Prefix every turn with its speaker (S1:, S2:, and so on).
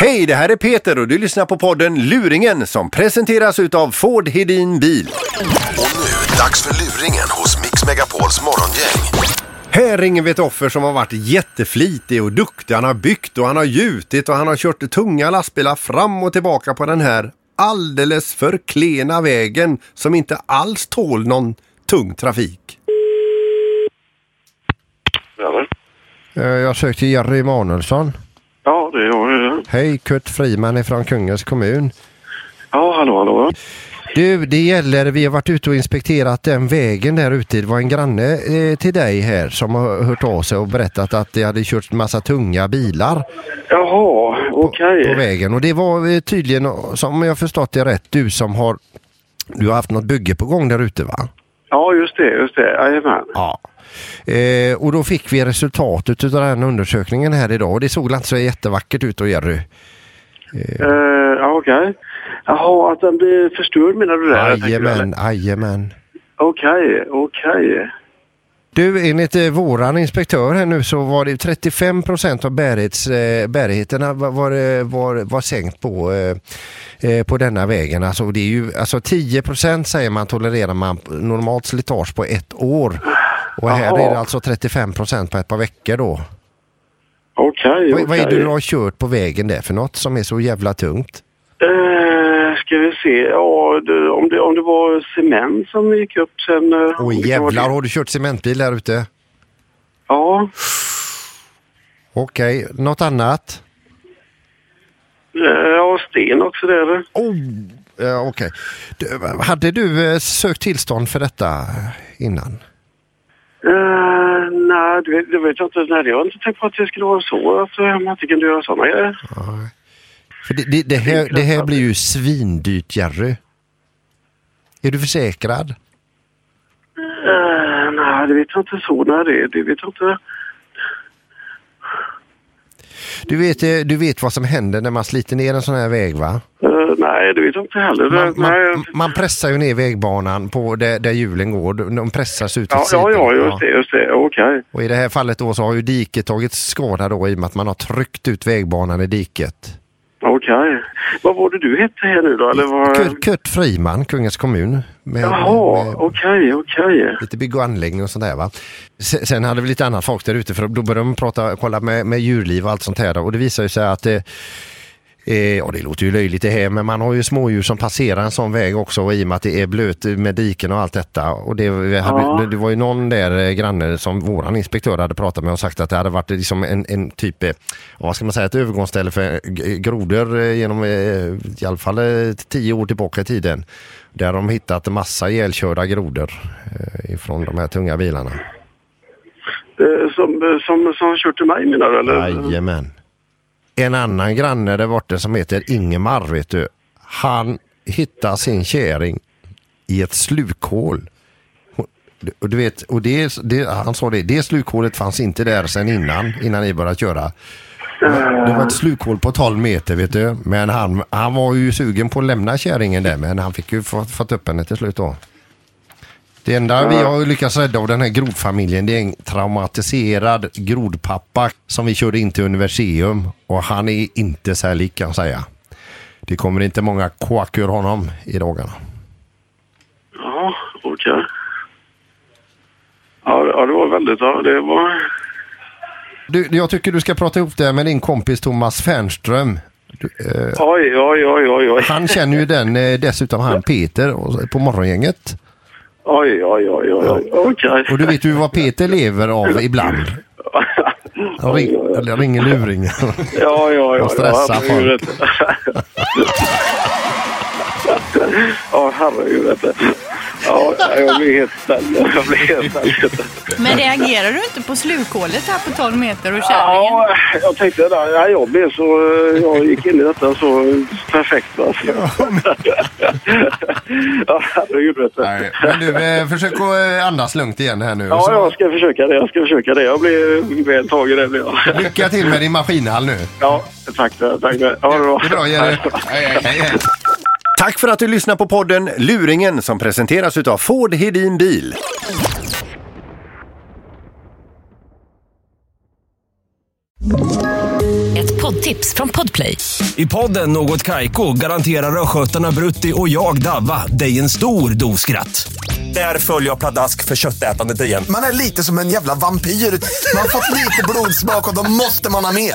S1: Hej, det här är Peter och du lyssnar på podden Luringen som presenteras utav Ford Hedin Bil.
S2: Och nu, dags för luringen hos Mix Megapols morgongäng.
S1: Här ringer vi ett offer som har varit jätteflitig och duktig. Han har byggt och han har gjutit och han har kört tunga lastbilar fram och tillbaka på den här alldeles för klena vägen som inte alls tål någon tung trafik.
S3: Ja,
S4: Eh, Jag sökte Jerry Emanuelsson.
S3: ja det är jag.
S4: Hej, Kurt Friman ifrån Kungens kommun.
S3: Ja, hallå, hallå.
S4: Du, det gäller, vi har varit ute och inspekterat den vägen där ute. Det var en granne eh, till dig här som har hört av sig och berättat att det hade kört massa tunga bilar
S3: Jaha, okej.
S4: på vägen. Och det var eh, tydligen, eh, som jag förstått det rätt, du som har du har haft något bygge på gång där ute va?
S3: Ja, just det, just det. Jajamän.
S4: Ja. Eh, och då fick vi resultatet av den här undersökningen här idag och det såg inte så jättevackert ut då Jerry.
S3: Eh, Ja, okej. Jaha, att den blir förstörd menar du? Där, jag tänker, eller?
S4: Jajamän, jajamän.
S3: Okej, okej.
S4: Du, enligt eh, våran inspektör här nu så var det 35 procent av bärighets, eh, bärigheterna var, var, eh, var, var sänkt på, eh, eh, på denna vägen. Alltså, det är ju, alltså 10 procent säger man tolererar man p- normalt slitage på ett år. Och här
S3: Jaha.
S4: är det alltså 35 procent på ett par veckor då.
S3: Okej,
S4: Vad, vad är det
S3: okej.
S4: du har kört på vägen där för något som är så jävla tungt?
S3: Eh, ska vi se. Ja, det, om, det, om det var cement som gick upp sen. eh, om
S4: Åh
S3: det kan vara
S4: jävlar,
S3: det.
S4: har du kört cementbil där ute?
S3: Ja,
S4: Okej, något annat?
S3: eh, ja, sten också där.
S4: Oh, eh, Okej. Du, Hade du eh, sökt tillstånd för detta innan?
S3: Eh, nej, det, vet- det vet jag inte. Nej, jag har inte tänkt på att det skulle vara så. Att eh, man inte kunde göra sådana grejer.
S4: För det, det, det, här, det här blir ju svindyrt, Jerry. Är du försäkrad?
S3: Eh, nej, det vet jag inte så. Nej, det, det vet jag inte.
S4: Du vet, eh, du vet vad som händer när man sliter ner en sån här väg, va?
S3: Eh, nej, det vet jag inte heller. Eh,
S4: Man,
S3: nej,
S4: man, man pressar ju ner vägbanan på där, där hjulen går. De de pressas ut åt
S3: ja, ja,
S4: sidan.
S3: ja, just det, just det. Okej.
S4: Och i det här fallet då så har ju diket tagit skada då i och med att man har tryckt ut vägbanan i diket.
S3: Okej. Vad var det du hette här nu då? Eller vad...
S4: Kurt, Kurt Friman, Kungens kommun. Med,
S3: Jaha,
S4: med-
S3: okej, okej.
S4: lite bygg och anläggning och sånt där va. Se- Sen hade vi lite annat folk där ute för då började de prata, kolla med, med djurliv och allt sånt här då. och det visar ju sig att eh, Eh, ja, det låter ju löjligt det här, men man har ju smådjur som passerar en sån väg också och i och med att det är blöt med diken och allt detta. Och det, vi hade,
S3: Ja.
S4: det, det var ju någon där eh, granne som våran inspektör hade pratat med och sagt att det hade varit liksom en, en typ, eh, vad ska man säga, ett övergångsställe för eh, g- grodor eh, genom eh, i alla fall eh, tio år tillbaka i tiden. Där de hittat en massa ihjälkörda grodor eh, ifrån de här tunga bilarna.
S3: Eh, Som, eh, som, som kört till mig menar du? Eller?
S4: Jajamän. En annan granne där borta som heter Ingemar, vet du. Han hittar sin käring i ett slukhål. Och, du vet, och det, det, han sa det, det slukhålet fanns inte där sedan innan, innan ni började köra. Men Det var ett slukhål på 12 meter vet du. Men han, han var ju sugen på att lämna käringen där men han fick ju fått, fått upp henne till slut då. Det enda vi har lyckats rädda av den här grodfamiljen det är en traumatiserad grodpappa som vi körde in till universum och han är inte särlig kan jag säga. Det kommer inte många kåk ur honom i dagarna.
S3: Ja, okej. Ja, det- ja, det var väldigt... Ja, det var...
S4: Eh. Du, jag tycker du ska prata ihop det här med din kompis Thomas Fernström. Du, eh,
S3: Oj, oj, oj, oj, oj.
S4: han känner ju den eh, dessutom han Peter och- på morgongänget.
S3: Oj, oj, oj, oj, oj. Okej.
S4: Och du vet ju vad Peter lever av ibland. Han ring, eller ringer luringen.
S3: Ja, ja, ja.
S4: Och stressa
S3: ja, herregud,
S4: folk.
S3: vet du. Ja, herregud. vet du. Ja, jag blir helt ställd. Jag blir helt ställd.
S5: Men reagerar du inte på slukhålet här på 12 meter och kärringen?
S3: Ja, jag tänkte det. där. Ja, jag blev så... Jag gick in i detta så perfekt. Alltså. Ja, herregud. Vet du.
S4: Nej, Men du, eh, försök att eh, andas lugnt igen här nu.
S3: Ja,
S4: Så-
S3: jag ska försöka det. Jag ska försöka det. Jag blir väl tagen. Det blir jag.
S4: Lycka till med din maskinhall nu.
S3: Ja, tack. tack. Ja, det
S4: Det är bra Jerry. Hej, hej, hej.
S1: Tack för att du lyssnar på podden Luringen som presenteras utav Ford Hedin Bil.
S6: Ett poddtips från Podplay.
S7: I podden Något Kaiko garanterar östgötarna Brutti och jag, Davva, dig en stor dos skratt. Där följer jag pladask för köttätandet igen.
S8: Man är lite som en jävla vampyr. Man har fått lite blodsmak och då måste man ha mer.